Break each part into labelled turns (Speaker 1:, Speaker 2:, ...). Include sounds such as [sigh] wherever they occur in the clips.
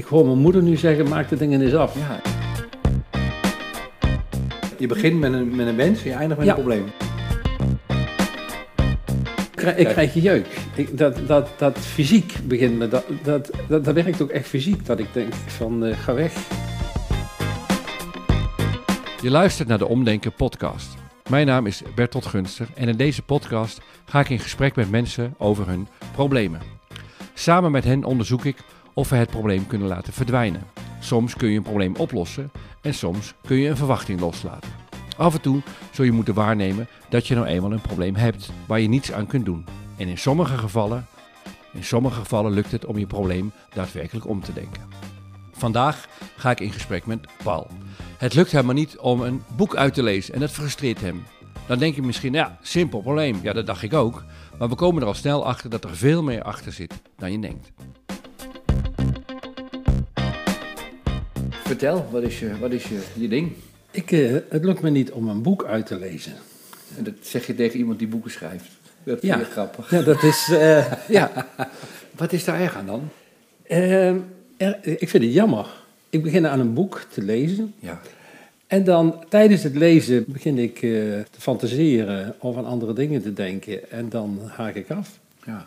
Speaker 1: gewoon mijn moeder nu zeggen, maak de dingen eens af.
Speaker 2: Ja. Je begint met een, met een wens en je eindigt met
Speaker 1: Ja.
Speaker 2: een probleem.
Speaker 1: Ik krijg- Ik krijg jeuk. Ik, dat, dat, dat fysiek begint me, dat, dat, dat, dat werkt ook echt fysiek, dat ik denk van eh, ga weg.
Speaker 3: Je luistert naar de Omdenken podcast. Mijn naam is Bertolt Gunster en in deze podcast ga ik in gesprek met mensen over hun problemen. Samen met hen onderzoek ik of we het probleem kunnen laten verdwijnen. Soms kun je een probleem oplossen en soms kun je een verwachting loslaten. Af en toe zul je moeten waarnemen dat je nou eenmaal een probleem hebt waar je niets aan kunt doen. En in sommige gevallen, in sommige gevallen lukt het om je probleem daadwerkelijk om te denken. Vandaag ga ik in gesprek met Paul. Het lukt hem maar niet om een boek uit te lezen en dat frustreert hem. Dan denk je misschien, ja, simpel probleem. Ja, dat dacht ik ook. Maar we komen er al snel achter dat er veel meer achter zit dan je denkt.
Speaker 2: Vertel, wat is je, wat is je, je ding?
Speaker 1: Ik, eh, het lukt me niet om een boek uit te lezen.
Speaker 2: En dat zeg je tegen iemand die boeken schrijft. Dat vind
Speaker 1: Ja.
Speaker 2: je grappig.
Speaker 1: Ja, dat is, eh, [laughs] ja.
Speaker 2: [laughs] Wat is daar erg aan dan?
Speaker 1: Eh, er- ik vind het jammer. Ik begin aan een boek te lezen.
Speaker 2: Ja.
Speaker 1: En dan tijdens het lezen begin ik eh, te fantaseren of aan andere dingen te denken. En dan haak ik af.
Speaker 2: ja.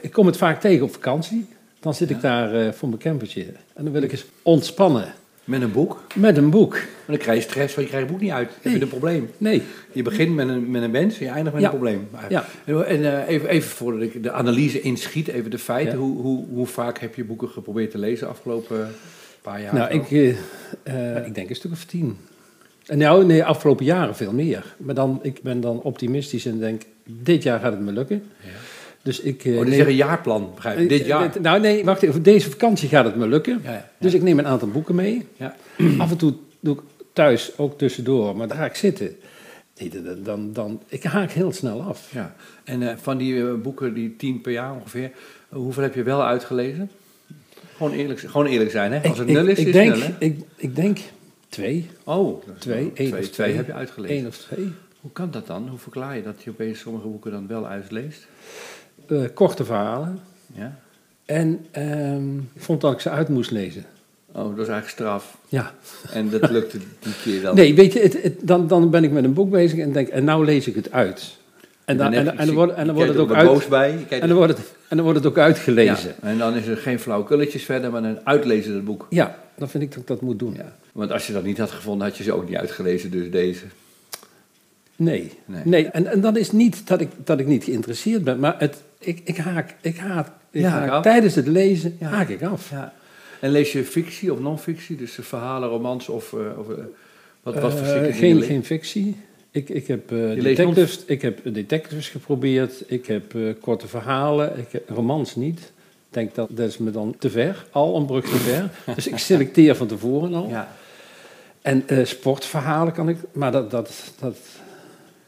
Speaker 1: Ik kom het vaak tegen op vakantie. Dan zit ik daar eh, voor mijn campertje. En dan wil ik eens ontspannen
Speaker 2: Met een boek.
Speaker 1: met een boek.
Speaker 2: Maar dan krijg je stress, want je krijgt het boek niet uit. Dan heb
Speaker 1: Nee.
Speaker 2: je een probleem.
Speaker 1: Nee,
Speaker 2: Je begint met een, met een wens en je eindigt met
Speaker 1: Ja.
Speaker 2: een probleem.
Speaker 1: Ja.
Speaker 2: En, en, eh, even, even voordat ik de analyse inschiet, even de feiten.
Speaker 1: Ja.
Speaker 2: Hoe, hoe, hoe vaak heb je boeken geprobeerd te lezen afgelopen paar jaar?
Speaker 1: nou,
Speaker 2: of zo?
Speaker 1: ik, eh, eh, ik denk een stuk of tien. En nou, nee, afgelopen jaren veel meer. Maar dan, ik ben dan optimistisch en denk, dit jaar gaat het me lukken.
Speaker 2: Ja.
Speaker 1: Dus ik... eh,
Speaker 2: Oh, dit is
Speaker 1: neem-
Speaker 2: echt een jaarplan, begrijp ik. Dit jaar.
Speaker 1: Eh, Nou nee, wacht even. Deze vakantie gaat het me lukken.
Speaker 2: Ja, ja.
Speaker 1: Dus ik neem een aantal boeken mee.
Speaker 2: Ja.
Speaker 1: [clears throat] Af en toe doe ik thuis ook tussendoor, maar daar ga ik zitten. Nee, dan, dan, dan, ik haak heel snel af.
Speaker 2: Ja, en eh, van die eh, boeken, die tien per jaar ongeveer, eh, hoeveel heb je wel uitgelezen? Gewoon eerlijk, gewoon eerlijk zijn, hè? Als het nul is,
Speaker 1: ik
Speaker 2: is
Speaker 1: denk,
Speaker 2: het nul, hè?
Speaker 1: ik, ik denk twee.
Speaker 2: Oh,
Speaker 1: Twee, één of
Speaker 2: twee,
Speaker 1: twee.
Speaker 2: heb je uitgelezen.
Speaker 1: Eén of twee.
Speaker 2: Hoe kan dat dan? Hoe verklaar je dat je opeens sommige boeken dan wel uitleest?
Speaker 1: Eh, korte verhalen.
Speaker 2: Ja?
Speaker 1: En ehm, ik vond dat ik ze uit moest lezen.
Speaker 2: Oh, dat is eigenlijk straf.
Speaker 1: Ja.
Speaker 2: En
Speaker 1: [laughs]
Speaker 2: dat lukte die keer wel.
Speaker 1: Nee, weet je, het, het- dan, dan ben ik met een boek bezig en denk, en nou lees ik het uit. En dan, en, en dan wordt, en dan wordt het ook uit,
Speaker 2: boos bij. Je kijkt
Speaker 1: en dan wordt het, en dan wordt het ook uitgelezen.
Speaker 2: Ja, en dan is er geen flauwekulletjes verder, maar een uitlezen het boek.
Speaker 1: Ja, dan vind ik dat ik dat moet doen.
Speaker 2: Ja. Want als je dat niet had gevonden, had je ze ook niet uitgelezen, dus deze.
Speaker 1: Nee.
Speaker 2: Nee.
Speaker 1: nee. En, en dat is niet dat ik, dat ik niet geïnteresseerd ben, maar het, ik, ik haak, ik haak, ik
Speaker 2: Ja,
Speaker 1: haak
Speaker 2: af.
Speaker 1: tijdens het lezen
Speaker 2: Ja.
Speaker 1: haak ik af.
Speaker 2: Ja. En lees je fictie of non-fictie? Dus de verhalen, romans of, eh, of eh, wat, wat voor
Speaker 1: Eh,
Speaker 2: soort dingen
Speaker 1: geen,
Speaker 2: je leest?
Speaker 1: geen fictie. Ik, ik, heb, eh,
Speaker 2: leest
Speaker 1: detectives, ik heb detectives geprobeerd, ik heb eh, korte verhalen, ik heb, romans niet. Ik denk dat, dat is me dan te ver, al een brug te ver. dus ik selecteer van tevoren al.
Speaker 2: Ja.
Speaker 1: En eh, sportverhalen kan ik, maar dat... dat, dat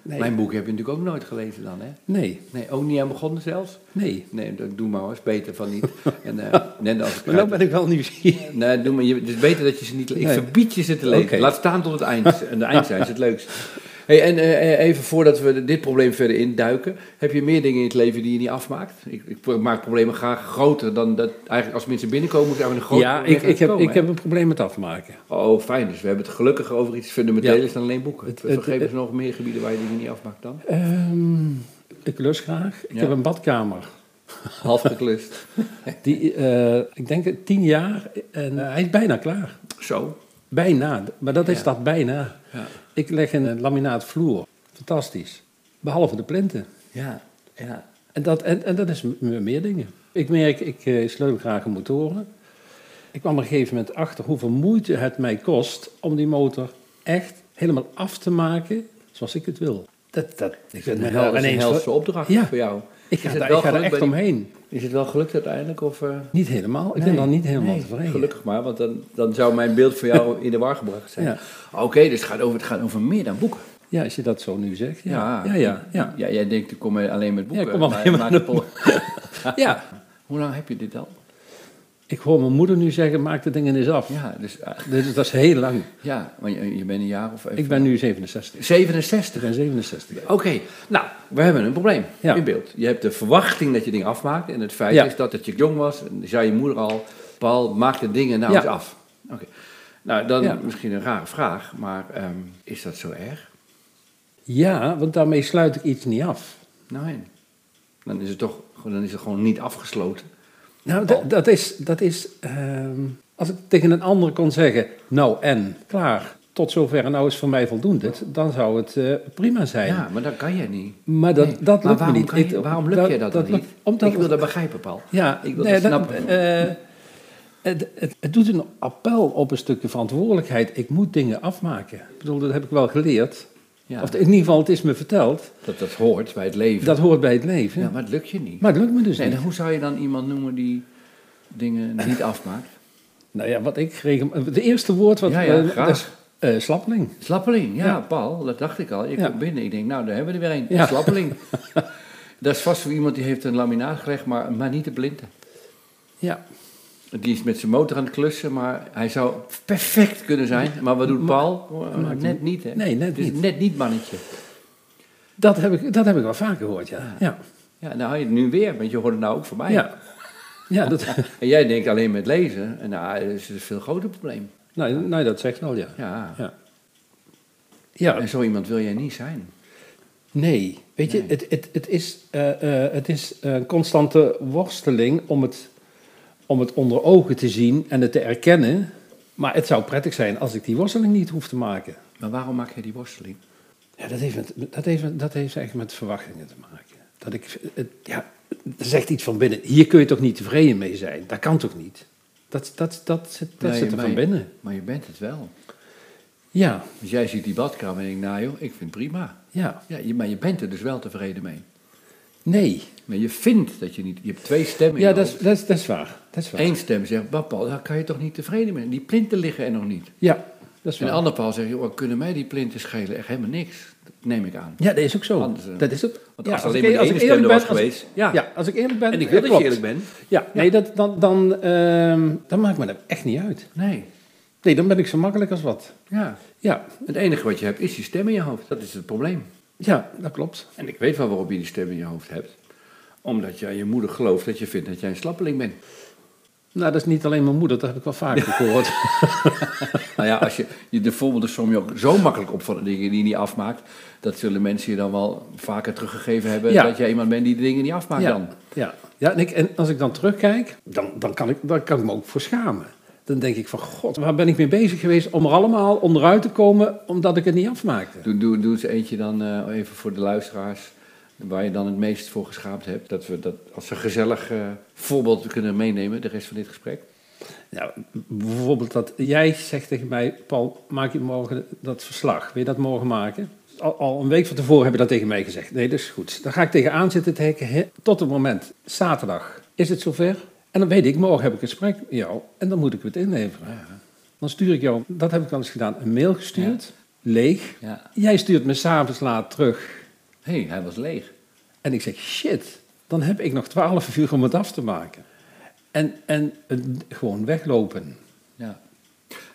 Speaker 1: nee.
Speaker 2: Mijn boek heb je natuurlijk ook nooit gelezen dan, hè?
Speaker 1: nee,
Speaker 2: Nee, ook niet aan begonnen zelfs?
Speaker 1: nee.
Speaker 2: Nee, dat doe maar eens. Beter van
Speaker 1: [laughs]
Speaker 2: niet. en, eh, nee, als ik
Speaker 1: Maar nou
Speaker 2: eruit-
Speaker 1: ben ik wel nieuwsgierig.
Speaker 2: Nee, doe maar. Je, het is beter dat je ze niet... le- Ik
Speaker 1: Nee.
Speaker 2: verbied je ze te lezen.
Speaker 1: Oké.
Speaker 2: Laat staan tot het eind. En de eindzijn is het leukst. Hey, en eh, eh, even voordat we de- dit probleem verder induiken. Heb je meer dingen in het leven die je niet afmaakt? Ik, ik maak problemen graag groter dan dat... Eigenlijk als mensen binnenkomen, moet ik eigenlijk een groot
Speaker 1: Ja,
Speaker 2: probleem
Speaker 1: ik, ik, heb,
Speaker 2: komen,
Speaker 1: ik
Speaker 2: hè?
Speaker 1: heb een probleem met afmaken.
Speaker 2: Oh, fijn. Dus we hebben het gelukkiger over iets fundamenteels dan alleen boeken.
Speaker 1: Het- het-
Speaker 2: Vergeef eens nog meer gebieden waar je dingen niet
Speaker 1: [laughs]
Speaker 2: afmaakt dan.
Speaker 1: Ehm, ik lust graag. Ik
Speaker 2: Ja.
Speaker 1: heb een badkamer.
Speaker 2: Half geklust.
Speaker 1: Die, eh, ik denk het tien jaar en eh, hij is bijna klaar.
Speaker 2: Zo.
Speaker 1: Bijna, maar dat is
Speaker 2: Ja.
Speaker 1: dat bijna.
Speaker 2: Ja.
Speaker 1: Ik leg een eh, laminaat vloer. Fantastisch. Behalve de plinten.
Speaker 2: Ja. Ja.
Speaker 1: En dat, en, en dat is m- meer dingen. Ik merk, ik eh, sleutel graag aan motoren. Ik kwam op een gegeven moment achter hoeveel moeite het mij kost om die motor echt helemaal af te maken zoals ik het wil. Dat, dat, ik
Speaker 2: Dat
Speaker 1: ben
Speaker 2: is een
Speaker 1: me
Speaker 2: hel-
Speaker 1: wel
Speaker 2: dat is een
Speaker 1: ineens...
Speaker 2: helse opdracht
Speaker 1: Ja.
Speaker 2: voor jou.
Speaker 1: Ik ga,
Speaker 2: Is het
Speaker 1: daar,
Speaker 2: wel
Speaker 1: ik ga er
Speaker 2: gelukt
Speaker 1: echt
Speaker 2: bij die-
Speaker 1: omheen.
Speaker 2: Is het wel gelukt uiteindelijk? Of, eh,
Speaker 1: Niet helemaal. Ik ben
Speaker 2: nee?
Speaker 1: dan niet helemaal
Speaker 2: Nee,
Speaker 1: tevreden.
Speaker 2: Gelukkig maar, want dan, dan zou mijn beeld van jou in de war gebracht zijn.
Speaker 1: Ja.
Speaker 2: Oké, dus het gaat, over, het gaat over meer dan boeken.
Speaker 1: Ja, als je dat zo nu zegt. Ja, ja, ja. ja.
Speaker 2: jij denkt, ik kom alleen met boeken.
Speaker 1: Ja, ik kom alleen
Speaker 2: maar-
Speaker 1: maar
Speaker 2: maar-
Speaker 1: met boeken. ja.
Speaker 2: Hoe lang heb je dit al?
Speaker 1: Ik hoor mijn moeder nu zeggen, maak de dingen eens af.
Speaker 2: Ja, dus, eh,
Speaker 1: Dus dat is heel lang.
Speaker 2: ja maar je, je bent een jaar of even...
Speaker 1: Ik ben nu 67.
Speaker 2: 67.
Speaker 1: Ik ben 67.
Speaker 2: Oké, nou, we hebben een probleem
Speaker 1: Ja.
Speaker 2: in beeld. Je hebt de verwachting dat je dingen afmaakt. En het feit
Speaker 1: Ja.
Speaker 2: is dat, dat je jong was. En zei je moeder al, Paul, maak de dingen nou
Speaker 1: Ja.
Speaker 2: eens af. Oké. Nou, dan
Speaker 1: Ja.
Speaker 2: misschien een rare vraag, maar ehm, is dat zo erg?
Speaker 1: Ja, want daarmee sluit ik iets niet af.
Speaker 2: Nee. Nou, Dan is het toch dan is het gewoon niet afgesloten.
Speaker 1: Nou, dat- dat is. Dat is ehm, als ik tegen een ander kon zeggen. Nou en klaar, tot zover en nou is voor mij voldoende. Dan zou het eh, prima zijn.
Speaker 2: Ja, maar dat kan je niet.
Speaker 1: Maar dat,
Speaker 2: Nee.
Speaker 1: dat
Speaker 2: maar
Speaker 1: lukt me
Speaker 2: waarom,
Speaker 1: niet.
Speaker 2: kan je-
Speaker 1: Ik-
Speaker 2: waarom lukt je dat, dan
Speaker 1: lukt-
Speaker 2: niet?
Speaker 1: Omdat
Speaker 2: ik wil dat begrijpen, Paul.
Speaker 1: Ja,
Speaker 2: Ik wil
Speaker 1: nee,
Speaker 2: dat
Speaker 1: dat-
Speaker 2: snappen.
Speaker 1: eh, het, het, het doet een appel op een stukje verantwoordelijkheid. Ik moet dingen afmaken. Ik bedoel, dat heb ik wel geleerd.
Speaker 2: Ja.
Speaker 1: Of in ieder geval, het is me verteld.
Speaker 2: dat, dat hoort bij het leven.
Speaker 1: Dat hoort bij het leven.
Speaker 2: ja, maar het lukt je niet.
Speaker 1: Maar het lukt me dus
Speaker 2: nee,
Speaker 1: niet.
Speaker 2: dan hoe zou je dan iemand noemen die dingen niet afmaakt?
Speaker 1: Nou ja, wat ik regelmatig... De eerste woord wat...
Speaker 2: Ja, ja,
Speaker 1: eh,
Speaker 2: graag.
Speaker 1: dat is, eh, slappeling.
Speaker 2: Slappeling, ja,
Speaker 1: Ja.
Speaker 2: Paul, dat dacht ik al. Je
Speaker 1: Ja.
Speaker 2: komt binnen, ik denk, nou, daar hebben we er weer een.
Speaker 1: Ja. [laughs]
Speaker 2: Slappeling. dat is vast voor iemand die heeft een laminaat gelegd, maar, maar niet de blinde.
Speaker 1: Ja.
Speaker 2: Die is met zijn motor aan het klussen, maar hij zou perfect kunnen zijn. Maar wat doet Paul?
Speaker 1: maakt
Speaker 2: net niet, hè?
Speaker 1: Nee, net
Speaker 2: Dus
Speaker 1: niet.
Speaker 2: net niet, mannetje.
Speaker 1: Dat heb ik, dat heb ik wel vaker gehoord, ja. Ja,
Speaker 2: Ja, nou, je het nu weer, want je hoort het nou ook van mij.
Speaker 1: ja. ja dat, [laughs]
Speaker 2: En jij denkt alleen met lezen. En nou, dat is een veel groter probleem.
Speaker 1: nou, nou, dat zegt wel, ja.
Speaker 2: Ja.
Speaker 1: Ja. Ja,
Speaker 2: En zo iemand wil jij niet zijn.
Speaker 1: nee. Weet je, het, het, het is, eh, eh, het is een constante worsteling om het, om het onder ogen te zien en het te erkennen. Maar het zou prettig zijn als ik die worsteling niet hoef te maken.
Speaker 2: Maar waarom maak jij die worsteling?
Speaker 1: Ja, dat heeft, met, dat heeft, met- dat heeft eigenlijk met verwachtingen te maken. Dat ik, het, ja, er zegt iets van binnen. Hier kun je toch niet tevreden mee zijn? Dat kan toch niet? Dat, dat, dat, zit- dat
Speaker 2: Nee,
Speaker 1: zit er
Speaker 2: maar
Speaker 1: van
Speaker 2: je-
Speaker 1: binnen.
Speaker 2: Maar je bent het wel.
Speaker 1: Ja,
Speaker 2: Dus jij ziet die badkamer en denkt, nou joh, ik vind het prima.
Speaker 1: ja.
Speaker 2: Ja, je- maar je bent er dus wel tevreden mee.
Speaker 1: Nee.
Speaker 2: Maar je vindt dat je niet... Je hebt twee stemmen. in
Speaker 1: Ja,
Speaker 2: je
Speaker 1: dat is,
Speaker 2: hoofd.
Speaker 1: dat, is, dat is waar. Dat is waar.
Speaker 2: Eén stem zegt, maar Paul, daar kan je toch niet tevreden mee zijn? Die plinten liggen er nog niet.
Speaker 1: Ja, dat is
Speaker 2: En
Speaker 1: waar.
Speaker 2: de andere Paul zegt, joh, kunnen mij die plinten schelen? Echt helemaal niks. Dat neem ik aan.
Speaker 1: Ja, dat is ook zo.
Speaker 2: Anders, eh,
Speaker 1: dat is ook.
Speaker 2: Want
Speaker 1: ja,
Speaker 2: als alleen maar
Speaker 1: e-
Speaker 2: de ene stem er was geweest...
Speaker 1: Als, ja, als ik eerlijk ben.
Speaker 2: En ik wil
Speaker 1: eh,
Speaker 2: dat
Speaker 1: klopt.
Speaker 2: je eerlijk bent.
Speaker 1: Ja, nee, dat, dan, dan, ehm, dan maakt me dat echt niet uit.
Speaker 2: Nee.
Speaker 1: Nee, dan ben ik zo makkelijk als wat.
Speaker 2: Ja.
Speaker 1: Ja,
Speaker 2: Het enige wat je hebt is die stem in je hoofd. Dat is het probleem.
Speaker 1: ja dat klopt.
Speaker 2: En ik weet wel waarom je die stem in je hoofd hebt. Omdat je aan je moeder gelooft dat je vindt dat jij een slappeling bent.
Speaker 1: Nou, dat is niet alleen mijn moeder, dat heb ik wel
Speaker 2: [laughs]
Speaker 1: vaker gehoord.
Speaker 2: Nou ja, als je, je de voorbeelden som je ook zo makkelijk op van de dingen die je niet afmaakt. Dat zullen mensen je dan wel vaker teruggegeven hebben.
Speaker 1: Ja.
Speaker 2: Dat jij iemand bent die de dingen niet afmaakt dan.
Speaker 1: Ja, ja en, ik, en als ik dan terugkijk, dan, dan, kan ik, dan kan ik me ook voor schamen. Dan denk ik van, god, waar ben ik mee bezig geweest om er allemaal onderuit te komen, omdat ik het niet afmaakte.
Speaker 2: Doe, doe, doe eens eentje dan eh, even voor de luisteraars. Waar je dan het meest voor geschaamd hebt. Dat we dat als een gezellig eh, voorbeeld kunnen meenemen de rest van dit gesprek.
Speaker 1: Nou, bijvoorbeeld dat jij zegt tegen mij, Paul, maak je morgen dat verslag. Wil je dat morgen maken? Al, al een week van tevoren heb je dat tegen mij gezegd. Nee, dat is goed. Dan ga ik tegenaan zitten te hekken. hè, Tot het moment, zaterdag, is het zover? En dan weet ik, morgen heb ik een gesprek met jou en dan moet ik het inleveren. Dan stuur ik jou, dat heb ik al eens gedaan, een mail gestuurd, leeg.
Speaker 2: Ja.
Speaker 1: Jij stuurt me s'avonds laat terug
Speaker 2: Hé, hey, hij was leeg.
Speaker 1: en ik zeg, shit, dan heb ik nog twaalf uur om het af te maken. En, en eh, gewoon weglopen.
Speaker 2: Ja.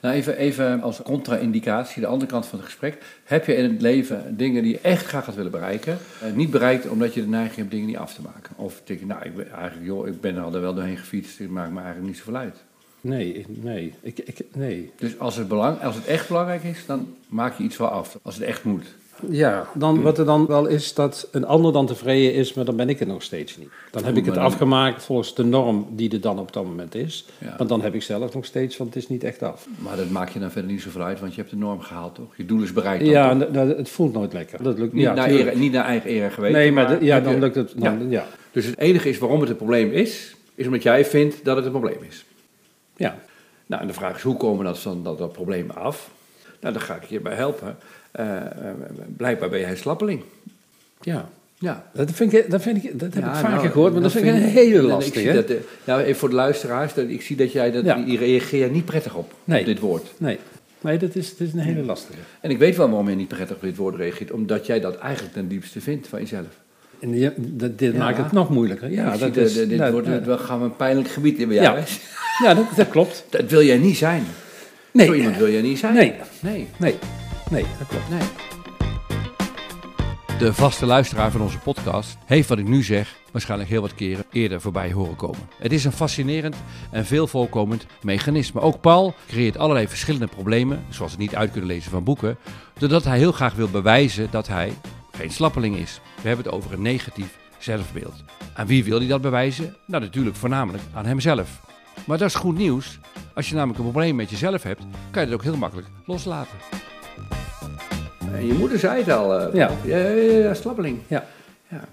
Speaker 2: Nou, even, even als contra-indicatie, de andere kant van het gesprek. Heb je in het leven dingen die je echt graag had willen bereiken, eh, niet bereikt omdat je de neiging hebt dingen niet af te maken? Of denk je, nou, ik ben, eigenlijk, joh, ik ben er al wel doorheen gefietst, het maakt me eigenlijk niet zoveel uit.
Speaker 1: Nee, nee. Ik, ik, nee.
Speaker 2: Dus als het, belang, als het echt belangrijk is, dan maak je iets wel af, als het echt moet.
Speaker 1: Ja, dan, wat er dan wel is dat een ander dan tevreden is, maar dan ben ik het nog steeds niet. Dan heb ik het
Speaker 2: Maar-
Speaker 1: afgemaakt volgens de norm die er dan op dat moment is.
Speaker 2: Ja.
Speaker 1: Want dan heb ik zelf nog steeds, want het is niet echt af.
Speaker 2: Maar dat maakt je dan verder niet zoveel uit, want je hebt de norm gehaald, toch? Je doel is bereikt. Dan,
Speaker 1: ja,
Speaker 2: toch?
Speaker 1: en dat- dat- het voelt nooit lekker. Dat lukt
Speaker 2: Niet,
Speaker 1: ja,
Speaker 2: naar
Speaker 1: tuurlijk.
Speaker 2: ere- niet naar eigen ere geweten.
Speaker 1: Nee, maar, de- ja,
Speaker 2: heb
Speaker 1: dan
Speaker 2: je-
Speaker 1: lukt het. Dan, ja. Ja.
Speaker 2: Dus het enige is waarom het een probleem is, is omdat jij vindt dat het een probleem is. Nou, en de vraag is, hoe komen we dat, van dat, dat probleem af? Nou, daar ga ik je bij helpen. Eh, eh, blijkbaar ben jij slappeling.
Speaker 1: Ja.
Speaker 2: Ja.
Speaker 1: Dat, vind ik, dat, vind ik, dat heb
Speaker 2: Ja,
Speaker 1: ik vaker
Speaker 2: nou,
Speaker 1: gehoord, maar dat, vind ik een hele
Speaker 2: ik
Speaker 1: lastige.
Speaker 2: zie dat, eh, nou, even voor de luisteraars, dat, ik zie dat jij dat,
Speaker 1: Ja.
Speaker 2: die reageert niet prettig op,
Speaker 1: Nee.
Speaker 2: op dit woord.
Speaker 1: Nee, nee dat, is, dat is een hele lastige.
Speaker 2: En ik weet wel waarom je niet prettig op dit woord reageert, omdat jij dat eigenlijk ten diepste vindt van jezelf.
Speaker 1: En die- dat, dit
Speaker 2: Ja.
Speaker 1: maakt het nog moeilijker. Ja,
Speaker 2: Ik
Speaker 1: dat
Speaker 2: zie
Speaker 1: is,
Speaker 2: dit
Speaker 1: dat-
Speaker 2: wordt,
Speaker 1: ja.
Speaker 2: we gaan we een pijnlijk gebied in bij
Speaker 1: Ja.
Speaker 2: jou. hè?
Speaker 1: Ja, dat, dat klopt.
Speaker 2: Dat wil jij niet zijn.
Speaker 1: Nee.
Speaker 2: Zo iemand wil jij niet zijn.
Speaker 1: Nee,
Speaker 2: Nee.
Speaker 1: nee, nee, dat klopt.
Speaker 2: Nee.
Speaker 3: De vaste luisteraar van onze podcast heeft wat ik nu zeg waarschijnlijk heel wat keren eerder voorbij horen komen. Het is een fascinerend en veel voorkomend mechanisme. Ook Paul creëert allerlei verschillende problemen, zoals het niet uit kunnen lezen van boeken, doordat hij heel graag wil bewijzen dat hij geen slappeling is. We hebben het over een negatief zelfbeeld. Aan wie wil hij dat bewijzen? Nou, natuurlijk voornamelijk aan hemzelf. Maar dat is goed nieuws. Als je namelijk een probleem met jezelf hebt, kan je dat ook heel makkelijk loslaten.
Speaker 2: En je moeder zei het al. eh,
Speaker 1: Ja.
Speaker 2: Ja, ja, ja, ja, slappeling.
Speaker 1: Ja.
Speaker 2: Ja.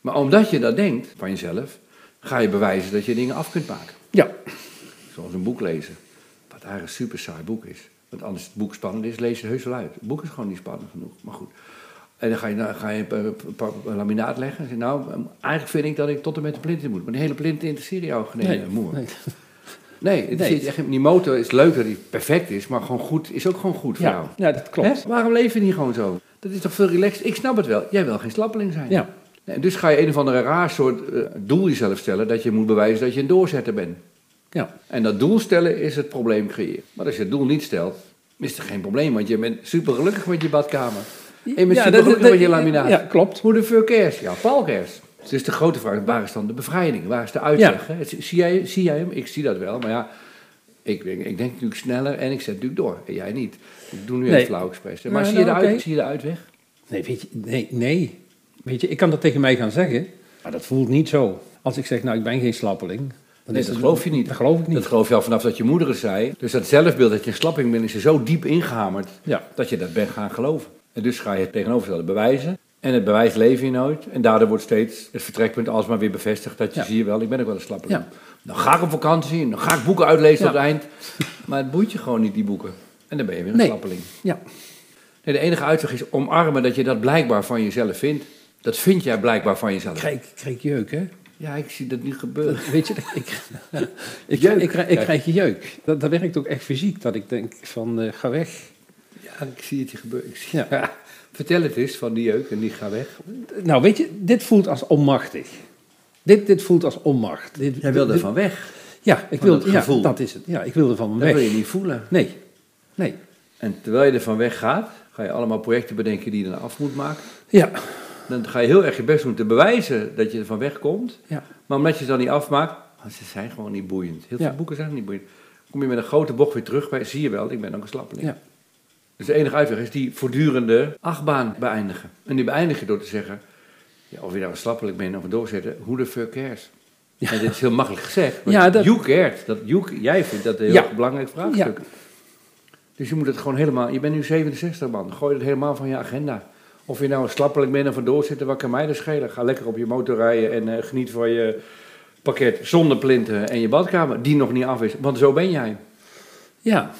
Speaker 2: Maar omdat je dat denkt van jezelf, ga je bewijzen dat je dingen af kunt maken.
Speaker 1: Ja,
Speaker 2: Zoals een boek lezen. Wat eigenlijk een super saai boek is. Want anders het boek spannend is, lees je het heus wel uit. Het boek is gewoon niet spannend genoeg, maar goed. En dan ga je, nou, ga je een, pa- pa- pa- laminaat leggen. En zeg je, nou, eigenlijk vind ik dat ik tot en met de plint in moet. Maar die hele plint interesseert jou geen
Speaker 1: nee,
Speaker 2: ene moer. [laughs]
Speaker 1: nee.
Speaker 2: Nee, het
Speaker 1: Nee.
Speaker 2: Is echt, die motor is leuk dat hij perfect is, maar gewoon goed is ook gewoon goed voor jou.
Speaker 1: Ja, ja, dat klopt.
Speaker 2: Hè? Waarom leven we niet gewoon zo? Dat is toch veel relaxed? Ik snap het wel. Jij wil geen slappeling zijn.
Speaker 1: Ja.
Speaker 2: Nee, dus ga je een of andere raar soort eh, doel jezelf stellen dat je moet bewijzen dat je een doorzetter bent.
Speaker 1: Ja,
Speaker 2: En dat doel stellen is het probleem creëren. Maar als je het doel niet stelt, is er geen probleem, want je bent supergelukkig met je badkamer. En je bent
Speaker 1: Ja, dat-
Speaker 2: supergelukkig
Speaker 1: dat-
Speaker 2: met je laminaat.
Speaker 1: Ja, klopt.
Speaker 2: Hoe de fuck cares? Ja, Paul cares. Dus de grote vraag, waar is dan de bevrijding? Waar is de uitweg? hè? Het- Zie, jij, zie jij hem? Ik zie dat wel, maar ja, ik, ik, ik denk natuurlijk sneller en ik zet natuurlijk door. En jij niet. Ik doe nu
Speaker 1: Nee.
Speaker 2: even flauw expres. hè. Maar
Speaker 1: Nou,
Speaker 2: zie, je de
Speaker 1: nou,
Speaker 2: uit-
Speaker 1: oké.
Speaker 2: zie je de uitweg?
Speaker 1: Nee, weet je, nee, nee. Weet je, ik kan dat tegen mij gaan zeggen, maar dat voelt niet zo. Als ik zeg, nou, ik ben geen slappeling. Dan
Speaker 2: Nee,
Speaker 1: is
Speaker 2: dat
Speaker 1: het-
Speaker 2: geloof je niet.
Speaker 1: Dat geloof ik niet.
Speaker 2: Dat geloof je al vanaf dat je moeder het zei. Dus dat zelfbeeld dat je een slapping bent, is er zo diep ingehamerd
Speaker 1: Ja.
Speaker 2: dat je dat bent gaan geloven. En dus ga je het tegenovergestelde bewijzen. En het bewijs leven je nooit. En daardoor wordt steeds het vertrekpunt alsmaar weer bevestigd. Dat je
Speaker 1: Ja.
Speaker 2: zie je wel, ik ben ook wel een slappeling.
Speaker 1: Ja.
Speaker 2: Dan ga ik op vakantie, en dan ga ik boeken
Speaker 1: Ja.
Speaker 2: uitlezen tot het eind. Maar het boeit je gewoon niet, die boeken. En dan ben je weer een
Speaker 1: Nee.
Speaker 2: slappeling.
Speaker 1: Ja,
Speaker 2: Nee, de enige uitweg is omarmen dat je dat blijkbaar van jezelf vindt. Dat vind jij blijkbaar van jezelf.
Speaker 1: krijg, krijg jeuk, hè?
Speaker 2: Ja, ik zie dat nu gebeuren.
Speaker 1: Weet
Speaker 2: [laughs]
Speaker 1: je, ik, ik, ik,
Speaker 2: Jeuk.
Speaker 1: ik, krijg- ik krijg jeuk. Dat, dat werkt ook echt fysiek, dat ik denk van, eh, ga weg.
Speaker 2: Ja, ik zie het je gebeuren. Ik zie-
Speaker 1: Ja.
Speaker 2: Ja. Vertel het eens van die jeuk en die ga weg.
Speaker 1: Nou, weet je, dit voelt als onmachtig. Dit, dit voelt als onmacht. Dit,
Speaker 2: Jij wil
Speaker 1: dit-
Speaker 2: er van weg.
Speaker 1: Ja, ik
Speaker 2: Van
Speaker 1: wil,
Speaker 2: dat
Speaker 1: ja,
Speaker 2: gevoel.
Speaker 1: dat is het. Ja, ik wil er van
Speaker 2: Dat
Speaker 1: weg.
Speaker 2: wil je niet voelen.
Speaker 1: Nee, nee.
Speaker 2: En terwijl je er van weg gaat, ga je allemaal projecten bedenken die je dan af moet maken.
Speaker 1: Ja,
Speaker 2: Dan ga je heel erg je best doen te bewijzen dat je er van weg komt.
Speaker 1: ja,
Speaker 2: Maar omdat je ze dan niet afmaakt, want ze zijn gewoon niet boeiend. Heel veel
Speaker 1: Ja.
Speaker 2: boeken zijn niet boeiend. Kom je met een grote bocht weer terug bij, zie je wel, ik ben ook een slappeling.
Speaker 1: ja.
Speaker 2: Dus de enige uitweg is die voortdurende achtbaan beëindigen. En die beëindig je door te zeggen, ja, of je nou een slappeling bent of een doorzetter, who the fuck cares? En dit is heel makkelijk gezegd, maar
Speaker 1: Ja, dat-
Speaker 2: you cares. Dat, you, jij vindt dat een heel
Speaker 1: Ja.
Speaker 2: belangrijk vraagstuk. Dus je moet het gewoon helemaal, je bent nu 67 man, gooi het helemaal van je agenda. Of je nou een slappeling bent of een doorzitter, wat kan mij dan schelen? Ga lekker op je motor rijden en eh, geniet van je pakket zonder plinten en je badkamer, die nog niet af is. Want zo ben jij.
Speaker 1: ja.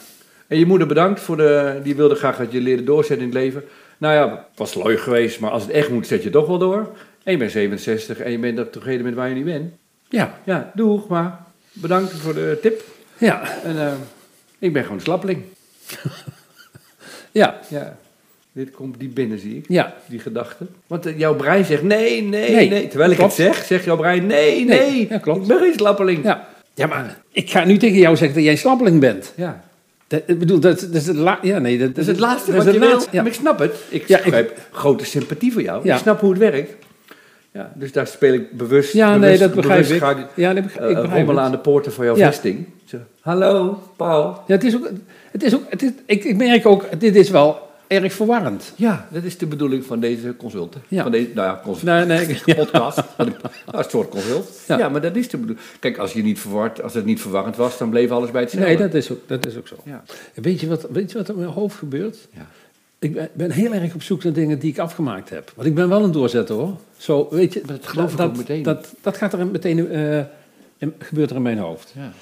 Speaker 2: En je moeder bedankt voor de. Die wilde graag dat je leerde doorzetten in het leven. Nou ja, het was leuk geweest, maar als het echt moet, zet je toch wel door. En je bent 67 en je bent op tevreden met waar je nu bent.
Speaker 1: Ja,
Speaker 2: Ja, doeg, maar bedankt voor de tip.
Speaker 1: ja,
Speaker 2: En eh, ik ben gewoon een slappeling.
Speaker 1: ja,
Speaker 2: Ja, dit komt diep binnen, zie ik.
Speaker 1: ja.
Speaker 2: Die gedachte. Want eh, jouw brein zegt nee, nee, nee.
Speaker 1: Nee,
Speaker 2: Terwijl ik
Speaker 1: klopt.
Speaker 2: het zeg, zegt jouw brein nee,
Speaker 1: Nee,
Speaker 2: nee.
Speaker 1: ja, klopt.
Speaker 2: Ik ben geen slappeling.
Speaker 1: Ja. ja, maar ik ga nu tegen jou zeggen dat jij een slappeling bent.
Speaker 2: Ja.
Speaker 1: Dat, ik bedoel, dat, dat is het laatste. Ja, nee, dat,
Speaker 2: Dat is het laatste
Speaker 1: Dus dat
Speaker 2: wat
Speaker 1: is
Speaker 2: je
Speaker 1: het laatste,
Speaker 2: wil.
Speaker 1: ja.
Speaker 2: Maar ik snap het. Ik
Speaker 1: Ja, ik-
Speaker 2: begrijp grote sympathie voor jou.
Speaker 1: Ja.
Speaker 2: Ik snap hoe het werkt. Ja, dus daar speel ik bewust.
Speaker 1: Ja, nee,
Speaker 2: bewust-
Speaker 1: dat begrijp
Speaker 2: bewust
Speaker 1: ik.
Speaker 2: Ga ik
Speaker 1: Ja, nee, begrijp-
Speaker 2: eh,
Speaker 1: ik begrijp
Speaker 2: rommelen
Speaker 1: het.
Speaker 2: aan de poorten van jouw
Speaker 1: Ja.
Speaker 2: vesting. Zo, Hallo, Paul.
Speaker 1: Ja, het is ook, het is ook, het is, ik, ik merk ook, dit is wel erg verwarrend.
Speaker 2: Ja, dat is de bedoeling van deze consult.
Speaker 1: Ja.
Speaker 2: Van deze, nou ja, consult.
Speaker 1: Nee, nee, ja.
Speaker 2: [laughs] podcast. Ja, een soort consult. Ja.
Speaker 1: Ja.
Speaker 2: maar dat is de bedoeling. Kijk, als, je niet verward, als het niet verwarrend was, dan bleef alles bij hetzelfde.
Speaker 1: nee dat, is ook, dat is ook zo.
Speaker 2: Ja.
Speaker 1: Weet, je wat, weet je wat er in mijn hoofd gebeurt?
Speaker 2: Ja.
Speaker 1: Ik ben, ben heel erg op zoek naar dingen die ik afgemaakt heb. Want ik ben wel een doorzetter hoor. Zo, weet je,
Speaker 2: Dat geloof ik ook meteen.
Speaker 1: Dat, dat gaat er meteen, eh, in- gebeurt er in mijn hoofd.
Speaker 2: Ja.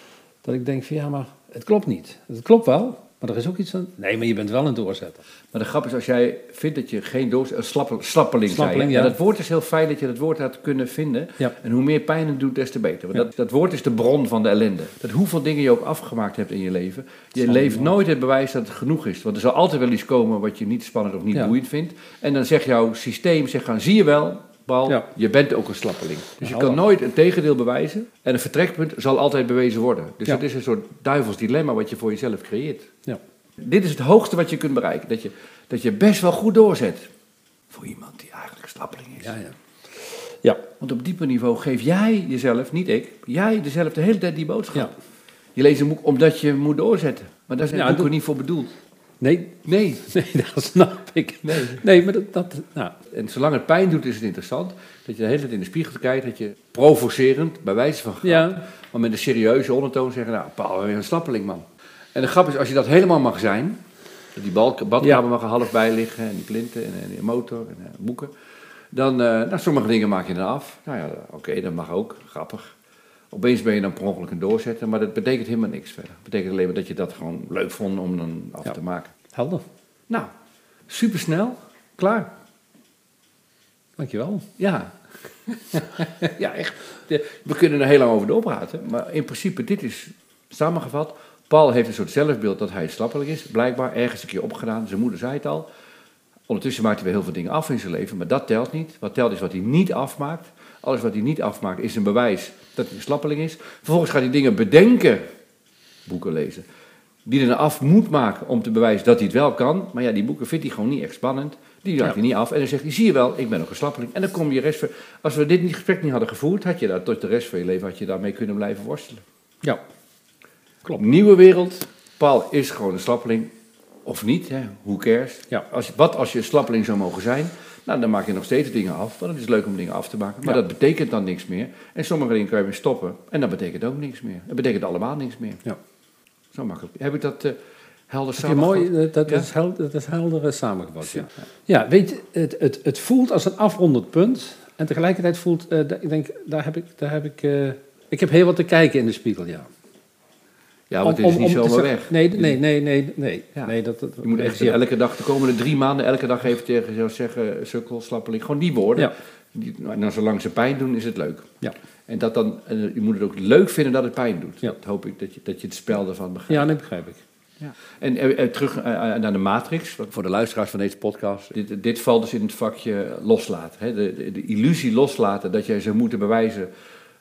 Speaker 1: Dat ik denk van ja, maar het klopt niet. Het klopt wel, maar er is ook iets aan... Nee, maar je bent wel een doorzetter.
Speaker 2: Maar de grap is, als jij vindt dat je geen doos... Een slappe- slappeling, zei je.
Speaker 1: Slappeling,
Speaker 2: ja.
Speaker 1: ja.
Speaker 2: Dat woord is heel fijn dat je dat woord had kunnen vinden.
Speaker 1: Ja.
Speaker 2: En hoe meer pijn het doet, des te beter. Want
Speaker 1: Ja.
Speaker 2: dat, dat woord is de bron van de ellende. Dat hoeveel dingen je ook afgemaakt hebt in je leven. Je leeft nooit het bewijs dat het genoeg is. Want er zal altijd wel iets komen wat je niet spannend of niet
Speaker 1: Ja.
Speaker 2: boeiend vindt. En dan zegt jouw systeem, zegt gaan, zie je wel... bal.
Speaker 1: Ja. Nou,
Speaker 2: Je bent ook een slappeling. Dus je
Speaker 1: Hallo.
Speaker 2: kan nooit een tegendeel bewijzen. En een vertrekpunt zal altijd bewezen worden. Dus
Speaker 1: Ja.
Speaker 2: dat is een soort duivels dilemma wat je voor jezelf creëert.
Speaker 1: Ja.
Speaker 2: Dit is het hoogste wat je kunt bereiken. Dat je, dat je best wel goed doorzet. Voor iemand die eigenlijk een slappeling is.
Speaker 1: Ja, ja. Ja,
Speaker 2: Want op dieper niveau geef jij jezelf, niet ik, jij jezelf de hele tijd die boodschap.
Speaker 1: ja.
Speaker 2: Je leest een boek omdat je moet doorzetten. Maar daar zijn
Speaker 1: Ja,
Speaker 2: boeken
Speaker 1: dat-
Speaker 2: niet voor bedoeld.
Speaker 1: Nee, [laughs]
Speaker 2: Nee.
Speaker 1: nee, dat snap ik.
Speaker 2: Nee.
Speaker 1: Nee, maar dat, dat nou,
Speaker 2: En zolang het pijn doet, is het interessant. Dat je de hele tijd in de spiegel kijkt, dat je provocerend, bij wijze van grap,
Speaker 1: Ja.
Speaker 2: maar met een serieuze ondertoon zeggen, nou, Paul, weer een slappeling, man. En de grap is, als je dat helemaal mag zijn, dat die balk, badkamer
Speaker 1: Ja.
Speaker 2: mag er half bij liggen, en die plinten, en, en die motor, en eh, boeken, dan, eh, nou, sommige dingen maak je dan af. Nou ja, oké, dat mag ook, grappig. Opeens ben je dan per ongeluk een doorzetter, maar dat betekent helemaal niks verder. Dat betekent alleen maar dat je dat gewoon leuk vond om dan af
Speaker 1: Ja.
Speaker 2: te maken.
Speaker 1: helder.
Speaker 2: Nou, supersnel, klaar.
Speaker 1: Dankjewel.
Speaker 2: Ja. [laughs] ja, echt. De- We kunnen er heel lang over doorpraten. Maar in principe, dit is samengevat. Paul heeft een soort zelfbeeld dat hij slappelijk is. Blijkbaar ergens een keer opgedaan. Zijn moeder zei het al. Ondertussen maakt hij weer heel veel dingen af in zijn leven. Maar dat telt niet. Wat telt is wat hij niet afmaakt. Alles wat hij niet afmaakt is een bewijs dat hij een slappeling is. Vervolgens gaat hij dingen bedenken. Boeken lezen. Die hij dan af moet maken om te bewijzen dat hij het wel kan. Maar ja, die boeken vindt hij gewoon niet echt spannend. Die raakt hij niet af. En dan zegt hij, zie je wel, ik ben ook een slappeling. En dan kom je rest van... Als we dit gesprek niet hadden gevoerd, had je daar tot de rest van je leven had je daarmee kunnen blijven worstelen.
Speaker 1: Ja,
Speaker 2: Klopt. Nieuwe wereld. Paul is gewoon een slappeling. Of niet, hè? who cares.
Speaker 1: Ja.
Speaker 2: Als, wat als je een slappeling zou mogen zijn? Nou, dan maak je nog steeds dingen af. Want het is leuk om dingen af te maken. Maar
Speaker 1: Ja.
Speaker 2: dat betekent dan niks meer. En sommige dingen kan je weer stoppen. En dat betekent ook niks meer. Dat betekent allemaal niks meer.
Speaker 1: ja.
Speaker 2: Zo makkelijk. Heb ik dat eh, helder
Speaker 1: Heb je
Speaker 2: samengevat?
Speaker 1: mooi, eh, dat,
Speaker 2: Ja.
Speaker 1: is helder, dat is helder eh, samengevat. Ja. ja, weet je, het, het, het voelt als een afrondend punt. En tegelijkertijd voelt, eh, da- ik denk, daar heb ik, daar heb ik, eh, ik heb heel wat te kijken in de spiegel, ja.
Speaker 2: Ja, Nou, want het is niet
Speaker 1: te
Speaker 2: zomaar
Speaker 1: zeggen-
Speaker 2: weg.
Speaker 1: Nee, nee, nee, nee, nee.
Speaker 2: Ja.
Speaker 1: nee dat, dat,
Speaker 2: Je moet echt
Speaker 1: ja.
Speaker 2: elke dag, de komende drie maanden, elke dag even tegen jezelf zeggen... sukkel, slappeling, gewoon die woorden.
Speaker 1: Ja.
Speaker 2: Die, nou, nou, zolang ze pijn doen, is het leuk.
Speaker 1: Ja.
Speaker 2: En dat dan, en je moet het ook leuk vinden dat het pijn doet.
Speaker 1: Ja.
Speaker 2: Dat hoop ik, dat je, dat je het spel daarvan begrijpt.
Speaker 1: ja, dat begrijp ik.
Speaker 2: En eh, eh, terug eh, eh, naar de matrix, want voor de luisteraars van deze podcast. Dit, dit valt dus in het vakje loslaten. Hè? De, de, de illusie loslaten dat jij zou moeten bewijzen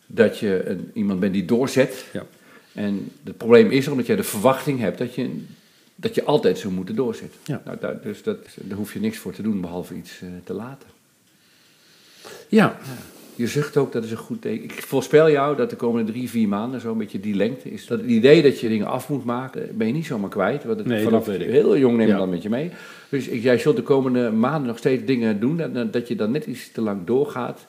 Speaker 2: dat je een, iemand bent die doorzet.
Speaker 1: Ja.
Speaker 2: En het probleem is er omdat jij de verwachting hebt dat je, dat je altijd zou moeten doorzetten.
Speaker 1: Ja.
Speaker 2: Nou, daar, dus dat, daar hoef je niks voor te doen behalve iets eh, te laten.
Speaker 1: Ja,
Speaker 2: Je zucht ook, dat is een goed teken. Ik voorspel jou dat de komende drie, vier maanden zo'n beetje die lengte is. Dat het idee dat je dingen af moet maken, eh, ben je niet zomaar kwijt. Want het
Speaker 1: Nee,
Speaker 2: vanaf
Speaker 1: dat weet ik.
Speaker 2: heel jong neem je
Speaker 1: Ja.
Speaker 2: dan met je mee. Dus ik, jij zult de komende maanden nog steeds dingen doen. Dat, dat- dat je dan net iets te lang doorgaat.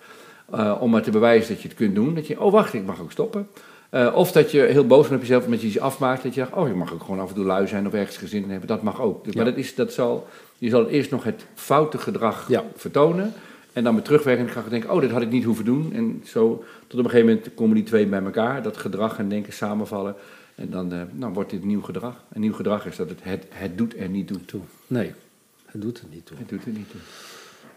Speaker 2: eh, om maar te bewijzen dat je het kunt doen. Dat je, oh wacht, ik mag ook stoppen. Eh, of dat je heel boos bent op jezelf omdat je iets afmaakt. Dat je dacht, oh ik mag ook gewoon af en toe lui zijn of ergens gezin in hebben. Dat mag ook. Dus-
Speaker 1: Ja.
Speaker 2: Maar dat is, dat zal, je zal eerst nog het foute gedrag
Speaker 1: Ja.
Speaker 2: vertonen. En dan met terugwerkende kracht denken, oh, dit had ik niet hoeven doen. En zo tot op een gegeven moment komen die twee bij elkaar. Dat gedrag en denken samenvallen. En dan eh, nou, wordt dit nieuw gedrag. En nieuw gedrag is dat het, het, het doet er niet toe.
Speaker 1: toe. Nee, het doet er niet toe.
Speaker 2: Het doet er niet toe.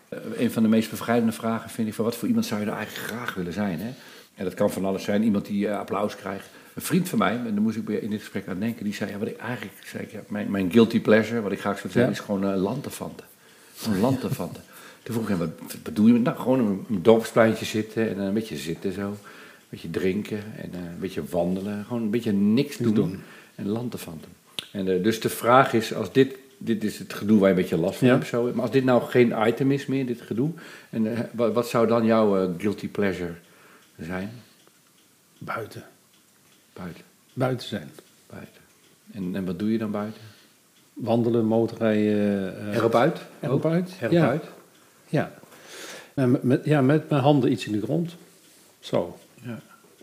Speaker 2: Eh, een van de meest bevrijdende vragen vind ik van wat voor iemand zou je nou eigenlijk graag willen zijn? Hè? En dat kan van alles zijn. Iemand die eh, applaus krijgt. Een vriend van mij, en daar moest ik weer in dit gesprek aan denken, die zei, ja, wat ik eigenlijk, zei ik, ja, mijn, mijn guilty pleasure, wat ik graag zou zijn,
Speaker 1: Ja.
Speaker 2: is gewoon eh lantefanten. Gewoon lantefanten. [laughs] Toen vroeg ik hem, wat wat bedoel je? met- Nou, gewoon op een, een dorpspleintje zitten en eh, een beetje zitten zo. Een beetje drinken en eh, een beetje wandelen. Gewoon een beetje niks doen. En lantefanten. En eh, dus de vraag is, als dit, dit is het gedoe waar je een beetje last van
Speaker 1: Ja.
Speaker 2: hebt zo. Maar als dit nou geen item is meer, dit gedoe. En eh, wa- wat, zou dan jouw eh, guilty pleasure zijn?
Speaker 1: Buiten.
Speaker 2: Buiten.
Speaker 1: Buiten zijn.
Speaker 2: buiten. En, en wat doe je dan buiten?
Speaker 1: Wandelen, motorrijden. eh,
Speaker 2: Erop uit?
Speaker 1: Erop uit.
Speaker 2: Erop
Speaker 1: ja.
Speaker 2: uit?
Speaker 1: Ja. En met- Met, ja, met mijn handen iets in de grond. Zo.
Speaker 2: Ja.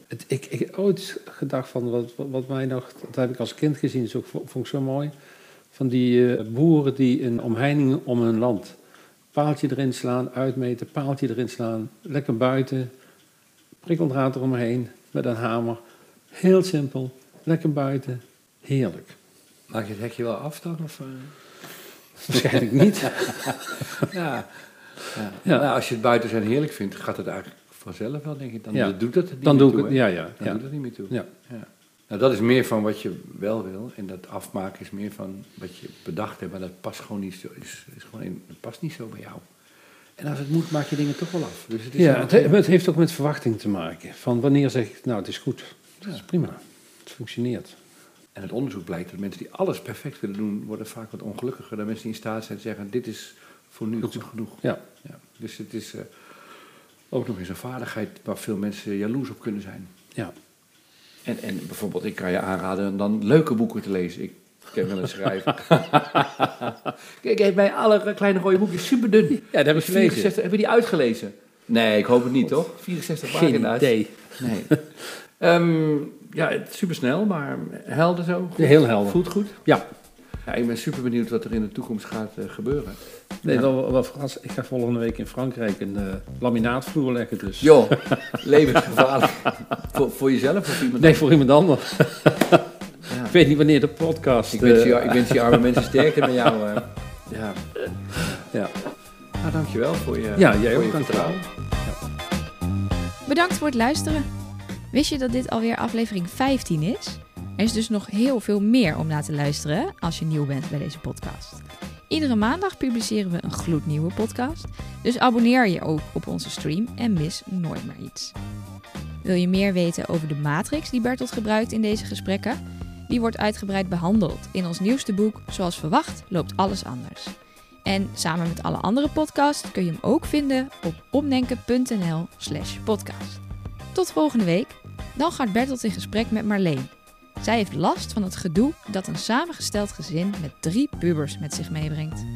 Speaker 1: Het, ik, ik heb ooit gedacht van wat, wat, wat mij nog, dat heb ik als kind gezien, dus ook, vo- vond ik zo mooi. Van die eh, boeren die een omheining om hun land. Paaltje erin slaan, uitmeten, paaltje erin slaan. Lekker buiten, prikkeldraad eromheen met een hamer. Heel simpel, lekker buiten, heerlijk.
Speaker 2: Maak je het hekje wel af dan? Of, eh?
Speaker 1: Waarschijnlijk niet.
Speaker 2: [laughs] Ja. ja.
Speaker 1: Ja.
Speaker 2: Nou, als je het buiten zijn heerlijk vindt, gaat het eigenlijk vanzelf wel, denk ik. Dan
Speaker 1: Ja.
Speaker 2: dan doet dat het niet
Speaker 1: Dan
Speaker 2: meer
Speaker 1: doe ik
Speaker 2: toe,
Speaker 1: het,
Speaker 2: hè?
Speaker 1: ja, ja.
Speaker 2: Dan
Speaker 1: ja.
Speaker 2: doet het niet meer toe.
Speaker 1: ja.
Speaker 2: Ja. Nou, dat is meer van wat je wel wil. En dat afmaken is meer van wat je bedacht hebt. Maar dat past gewoon niet zo. Is, is gewoon, in- dat past niet zo bij jou. En als het moet, maak je dingen toch wel af. Dus het is
Speaker 1: Ja,
Speaker 2: wel-
Speaker 1: het, he- het heeft ook met verwachting te maken. Van wanneer zeg ik, nou, het is goed. Dat is prima. Het functioneert.
Speaker 2: En het onderzoek blijkt dat mensen die alles perfect willen doen, worden vaak wat ongelukkiger dan mensen die in staat zijn te zeggen, dit is voor nu goed genoeg.
Speaker 1: Ja.
Speaker 2: Ja. Dus het is eh, ook nog eens een vaardigheid waar veel mensen jaloers op kunnen zijn.
Speaker 1: ja.
Speaker 2: En, en bijvoorbeeld, ik kan je aanraden om dan leuke boeken te lezen. Ik ken wel een schrijver. [laughs] Kijk, hij heeft mij alle kleine rode boekjes superdun. Ja,
Speaker 1: dat heb ik gelezen.
Speaker 2: Heb je die uitgelezen? Nee, ik hoop het niet, toch? 64 pagina's. Nee. Ehm, ja, het is supersnel, maar helder zo. Goed.
Speaker 1: Heel helder.
Speaker 2: Voelt goed.
Speaker 1: Ja,
Speaker 2: Ja, ik ben super benieuwd wat er in de toekomst gaat eh, gebeuren.
Speaker 1: nee, wel, wel verrast. Ik ga volgende week in Frankrijk een eh, laminaatvloer leggen. Dus.
Speaker 2: Joh, [laughs] levensgevaarlijk. voor, voor jezelf of iemand
Speaker 1: Nee, voor iemand anders.
Speaker 2: Ja.
Speaker 1: Ik weet niet wanneer de podcast.
Speaker 2: Ik wens,
Speaker 1: eh,
Speaker 2: je, ik wens die arme mensen sterkte met jou. eh. ja.
Speaker 1: ja.
Speaker 2: Nou, dankjewel voor je
Speaker 1: ja, jij
Speaker 2: voor
Speaker 1: ook
Speaker 2: je
Speaker 1: kan trouwen.
Speaker 4: Bedankt voor het luisteren. Wist je dat dit alweer aflevering 15 is? Er is dus nog heel veel meer om na te luisteren als je nieuw bent bij deze podcast. Iedere maandag publiceren we een gloednieuwe podcast, dus abonneer je ook op onze stream en mis nooit meer iets. Wil je meer weten over de matrix die Bertolt gebruikt in deze gesprekken? Die wordt uitgebreid behandeld in ons nieuwste boek Zoals verwacht loopt alles anders. En samen met alle andere podcasts kun je hem ook vinden op omdenken.nl slash podcast. Tot volgende week. Dan gaat Bertolt in gesprek met Marleen. Zij heeft last van het gedoe dat een samengesteld gezin met drie pubers met zich meebrengt.